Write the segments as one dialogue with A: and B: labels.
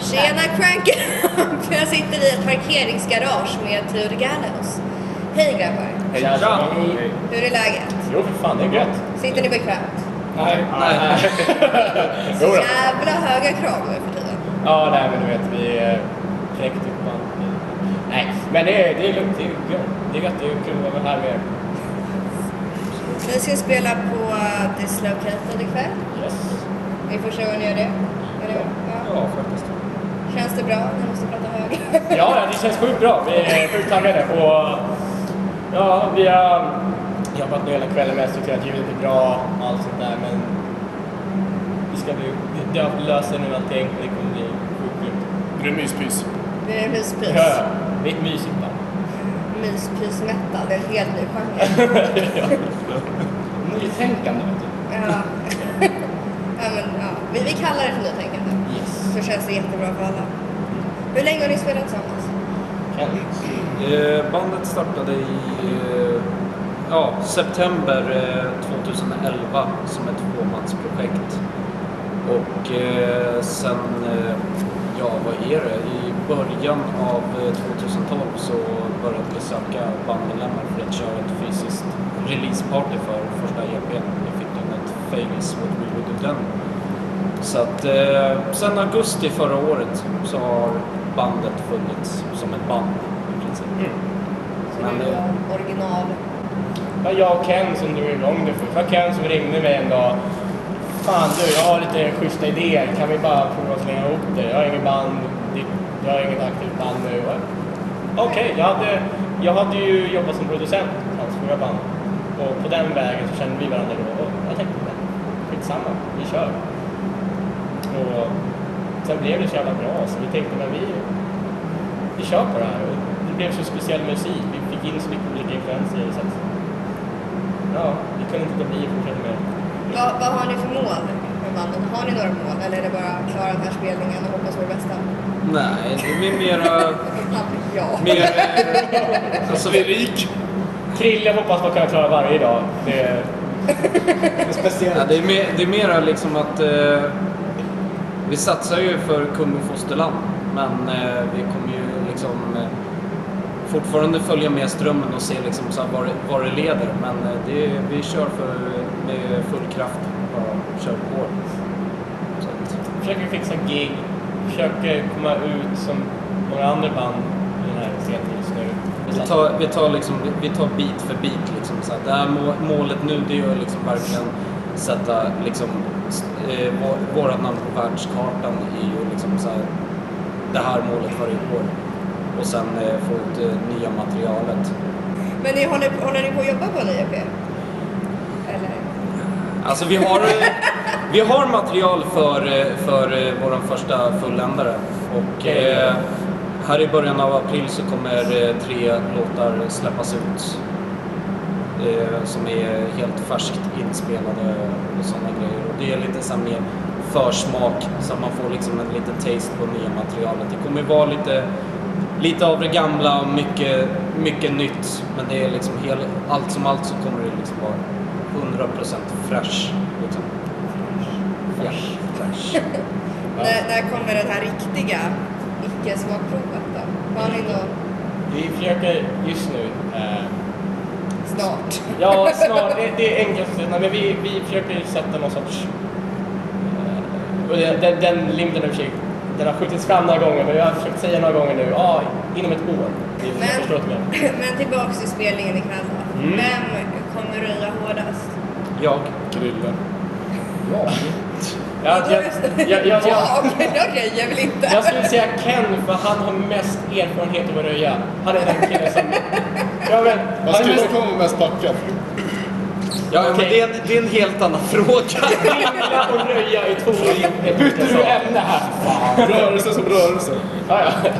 A: Tjena Crank Up! Jag sitter i ett parkeringsgarage med Theodor Gallows. Hej grabbar!
B: Hej Tja!
A: Hur är läget?
B: Jo för fan, det är gött.
A: Sitter ni bekvämt?
B: Nej, nej.
A: Så
B: Jo då.
A: jävla höga krav nu för tiden.
B: Ja, nej men du vet, vi eh, knäckte upp allt. Nej, men det är, det är lugnt. Det är gött. Det är gött. Det är kul att vara här med er.
A: Ni ska spela på Dislocated ikväll.
B: Yes.
A: Det är första gången ni gör det. Är det ja.
B: faktiskt.
A: Känns det bra? Ni måste prata högre.
B: Ja, ja, det känns sjukt bra. Vi är sjukt taggade. Och ja, vi har jobbat nu hela kvällen med strukturerat ljudet är bra och allt sånt där. Men vi ska bli... Det löser nu allting och det kommer bli sjukt grymt.
C: Det är myspys.
A: Det är myspys.
B: Ja, ja. Det är ett mysigt band.
A: Myspys-metal, det är en helt ny genre.
B: Nytänkande vet du.
A: Ja. ja, men, ja. Vi, vi kallar det för nytänkande.
B: Yes.
A: Så känns det jättebra för alla. Hur länge har ni spelat tillsammans?
D: Eh, Bandet startade i eh, ja, september eh, 2011 som ett tvåmansprojekt. Och eh, sen, eh, ja vad är det, i början av eh, 2012 så började vi söka bandmedlemmar för att köra ett fysiskt releaseparty för första EPn. Vi fick namnet Famous What We Would Do Then. Så att eh, sen augusti förra året så har bandet funnits som ett band i princip.
B: Mm.
A: Så
D: Men
A: nu
D: det-
A: är original.
B: Det var jag och Ken som drog igång det först. Det var Ken som ringde mig en dag. Fan du, jag har lite schyssta idéer. Kan vi bara prova att slänga ihop det? Jag har ingen band. det- Jag har inget aktivt band nu. va? Okej, jag, hade, jag hade ju jobbat som producent i hans förra band. Och på den vägen så kände vi varandra då. Och jag tänkte, men skitsamma, vi kör. Och sen blev det så jävla bra så vi tänkte, men vi, vi kör på det här. Och det blev så speciell musik. Vi fick in så mycket olika influenser. Så att, ja, vi kunde inte låta bli att fortsätta med det.
A: Vad, vad har ni för mål med bandet? Har ni några mål eller är det bara klara den här spelningen och hoppas på det bästa?
D: Nej, det blir mera...
A: Ja.
D: mer eh, alltså,
C: Bli rik.
B: Krille hoppas man kan klara varje dag. Det är, det är
D: ja,
B: speciellt.
D: det, är mer, det är mera liksom att eh, vi satsar ju för kung och fosterland men eh, vi kommer ju liksom eh, fortfarande följa med strömmen och se liksom så här var, det- var det leder men eh, det, är- vi kör för, med full kraft bara kör på. Så att,
B: Försöker fixa gig. Försöker komma ut som några andra band i den här scenen just nu.
D: Vi tar, vi tar, liksom, vi- vi tar bit för bit. Liksom, så att det här må- målet nu det är att liksom verkligen sätta liksom, s- eh, vå- vårat namn på världskartan. i ju liksom, så här, det här målet varje år. Och sen eh, få ut eh, nya materialet.
A: Men ni håller, håller ni på att jobba på en EP? Eller?
D: Alltså vi har, eh, vi har material för, eh, för eh, vår första fulländare. Och eh, här i början av april så kommer eh, tre låtar släppas ut. Eh, som är helt färskt inspelade och sådana grejer. Och det är lite så här mer försmak så att man får liksom en liten taste på nya materialet. Det kommer vara lite, lite av det gamla och mycket, mycket nytt. Men det är liksom hel, allt som allt så kommer det liksom vara 100% fresh. Liksom. Fresh. fresh.
A: När, när kommer det här riktiga icke-smakprovet då? Har ni något
B: Vi försöker just nu eh,
A: snart?
B: Ja, snart. Det, det är enklast att säga. Nej, men vi, vi försöker sätta någon sorts... eh, och det- Den, den limiten har försökt, den har skjutits fram några gånger, men jag har försökt säga några gånger nu, ja, inom ett år. Vi
A: Men-
B: förstår inte mer.
A: Men tillbaks till spelningen ikväll då.
B: Mm.
A: Vem kommer röja hårdast?
D: Jag.
C: Krille.
B: Jag, jag, jag, jag, jag,
A: Ja, okej, okej, jag vill inte.
B: jag skulle säga Ken, för han har mest erfarenhet av att röja. Han är den killen som... Ja, men, han
C: Man
B: är
C: skulle
B: mest
C: komma mest packad.
D: Ja, men
B: Okej.
D: det, är en, det är en helt annan fråga.
B: illa att röja i två Bytte du ämne här?
C: Rörelse som rörelse.
B: Ja, ja.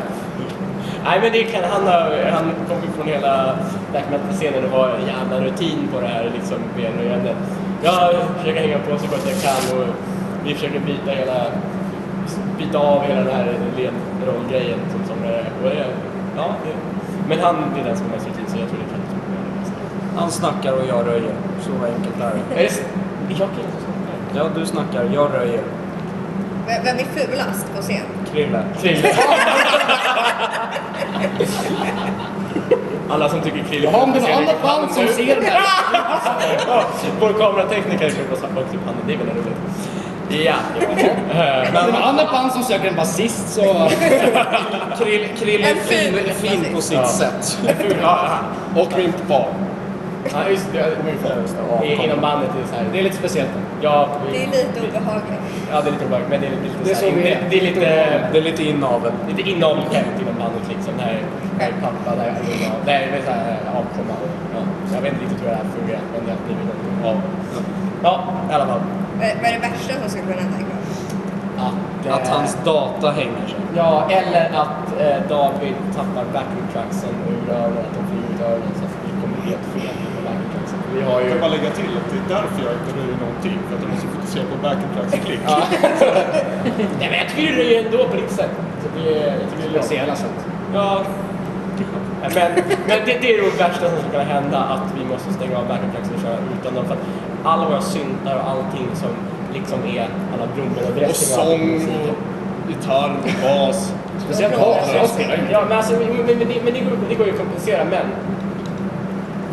B: Nej men det kan han ha, han kom ju från hela black metal-scenen och var en jävla rutin på det här liksom benröjandet. Jag försöker hänga på så gott jag kan och vi försöker byta hela, byta av hela den här ledrollgrejen som somrare. Och det, ja, det, men han det är den som har mest rutin så jag tror det kan
D: Han snackar och jag röjer. Så enkelt är det.
B: Är det s- jag kan inte snacka.
D: Ja, du snackar, jag röjer.
A: Vem, eh, vem är fulast på scen?
B: Krille. Krille. Alla som tycker Krille
C: Jaha, om det är
B: ser
C: något annat
B: räcker
C: band
B: handen
C: som
B: nu.
C: ser det här.
B: Ja, Vår kameratekniker skulle också upp handen. Det är väl roligt. Ja. Eh,
C: Om det är något annat band som söker en basist så...
D: Krill, krill är
A: En fin-
D: fin, fin på sitt
B: Ja.
D: sätt.
B: Men ful- ja,
C: Och min far.
B: Ja, just det. Min far. I- Inom bandet är det så här.
C: Det är lite speciellt.
B: Ja,
A: Det är
B: vi-
A: lite obehagligt.
B: ja, det är lite obehagligt. Men det är lite,
C: Det är
B: så här-
C: så vi
B: det,
C: är.
B: det är lite,
D: Det är lite inavel.
B: lite inavelkänt inom bandet liksom. Där är- där är pappa, där är mamma. Där är väl så här avkomma. Ja, jag vet inte riktigt hur det här fungerar. Men det har blivit någonting av. Ja, i alla fall.
A: Vad vad är det värsta som skulle kunna hända ikväll?
B: Att, eh,
D: Att hans data hänger sig.
B: Ja, eller att eh, David tappar vacuumtraxen ur öronen, att de flyger ut öronen så att vi kommer helt fel med vacuumtraxen. Vi har
C: Jag
B: ju...
C: kan bara lägga till att det är därför jag inte röjer någonting. För att jag måste fokusera på backuptracks-klick.
B: Ja. Nej men jag tycker det är ändå på ditt sätt. Så det, är- jag tycker det är bra.
C: Speciella sätt.
B: Ja. Men, men det, det är nog det värsta som skulle kunna hända, att vi måste stänga av vacuumtraxen och köra utan dem. För att alla våra syntar och allting som liksom är alla blommor och
C: Och
B: dressing all
C: sång
B: musiken.
C: och gitarr och bas. Speciellt bas. Jag spelar ju inte.
B: Ja, men, alltså, men, men, men, det- men det, går, det går ju att kompensera, men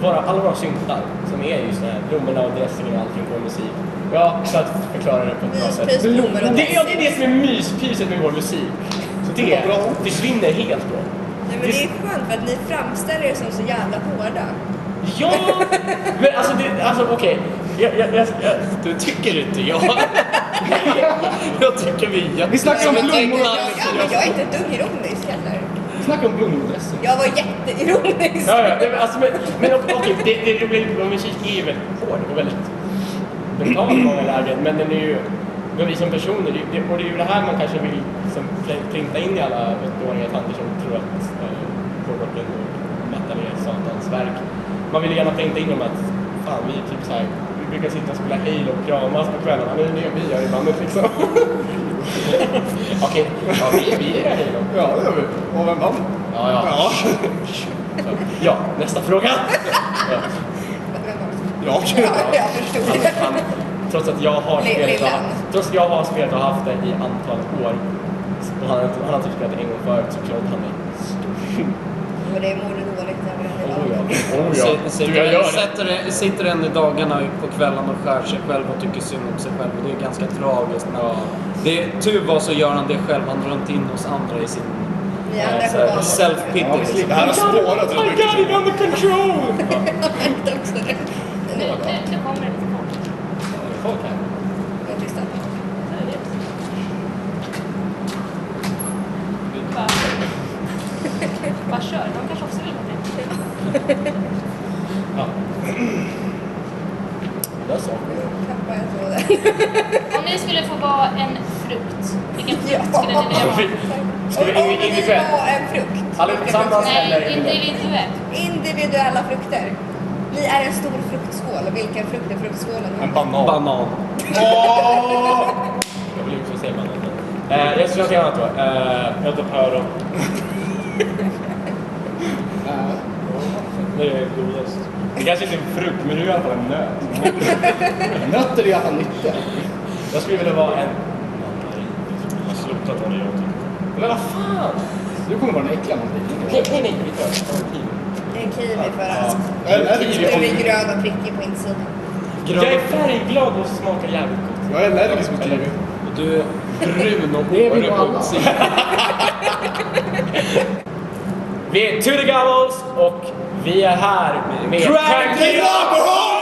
B: våra, alla våra syntar som är just det här, blommorna och dressingen och allting på musik. Ja, för att förklara det på ett bra sätt.
A: Myspys, Mm. blommor och
B: Det, ja,
A: dressing.
B: det är det som är myspyset med vår musik. Så det försvinner helt då.
A: Nej, men det är skönt för att ni framställer er som så jävla hårda.
B: Ja! Men alltså, det, alltså okej. Jag, jag, jag, jag,
D: Det tycker inte jag. jag tycker vi är
C: Vi snackar om
A: Men jag-
C: blommor.
A: jag- Ja, men jag är inte ett dugg ironisk heller.
C: Vi snackar om blommordressing.
A: Jag var jätteironisk.
B: Ja, ja, nej, men alltså, men, men ok- okej, det, det, det blir, vår musik är ju väldigt hård och väldigt brutal i många lägen, men den är ju, men vi som personer, det, det, och det är ju det här man kanske vill liksom, fl- flinta in i alla åttaåriga tanter som tror att eh, hårdrocken och metal är satans verk. Man vill ju gärna flinta in dem att, fan vi är typ såhär, vi brukar sitta och spela Halo och kramas på kvällarna, men det är det vi gör i bandet liksom. okej, ja, vi, vi är Halo.
C: Ja, det gör vi. Och vem vann?
B: Ja, ja. Så, Ja, nästa fråga. Ja.
C: Ja.
A: Ja, jag förstod.
B: Han, Alltså, han, trots att jag har
A: Li-
B: spelat och,
A: lillen.
B: trots att jag har spelat och haft det i antal år och han, han har typ spelat det en gång förut så klodde han mig.
A: Och det mår du dåligt över hela
B: Oh ja,
A: dagen.
B: oh ja.
D: Si-
B: Du, jag
D: Sitter,
B: gör det.
D: sätter, en- sitter en i dagarna på kvällen och skär sig själv och tycker synd om sig själv. Och det är ganska tragiskt. Men
B: Ja.
D: det, tur var så gör han det själv. Han drar inte in oss andra i sin
A: Ni andra
B: Nej,
A: får
B: så-
A: vara
C: Ja,
D: self-pity.
C: visst.
D: liksom.
C: Det här har spårat så
B: I got it
C: mycket.
B: under control!
E: Nu, nu, nu kommer det lite folk.
B: Folk här.
A: Jag tysta.
E: Bara, bara kör, de kanske också vill någonting.
B: Ja. Där sa
A: Nu
B: vi.
A: tappade jag tråden.
E: Om ni skulle få vara en frukt, vilken frukt
A: Ja.
E: skulle ni vilja vara?
B: Ska vi
A: Om
B: in- individuellt?
A: var en frukt.
B: Alla tillsammans? Eller
E: Nej,
B: individuellt.
E: individuellt.
A: Individuella frukter. Ni är en stor fruktskål. Vilken frukt är fruktskålen?
C: En banan.
D: Banan.
C: Åh!
B: Jag vill också säga man eh, Jag skulle säga något annat då. Eh, jag tar päron. Det är godast. Det kanske inte är en frukt, men du är i alla fall en nöt.
C: Nötter är i alla fall nyttigt.
B: Jag skulle vilja vara en...
C: Jag har slutat vara det jag tycker.
B: Men vad fan!
C: Du kommer vara den äckliga man blir.
B: Nej, nej, nej. vi tar en kiwi.
A: Det är en kiwi för att
C: Eller
A: den
C: kiwi.
A: är grön och prickig på insidan.
B: Jag är färgglad och smakar jävligt gott.
C: Jag är allergisk mot kiwi.
D: Och Du är brun och
C: Det är vi
D: hårig
C: nog
D: på
C: alla.
D: uppsidan.
B: Vi är Tudegavels och vi är här med
D: Crack
B: Crack
C: Det är
B: It Up!
C: alkohol!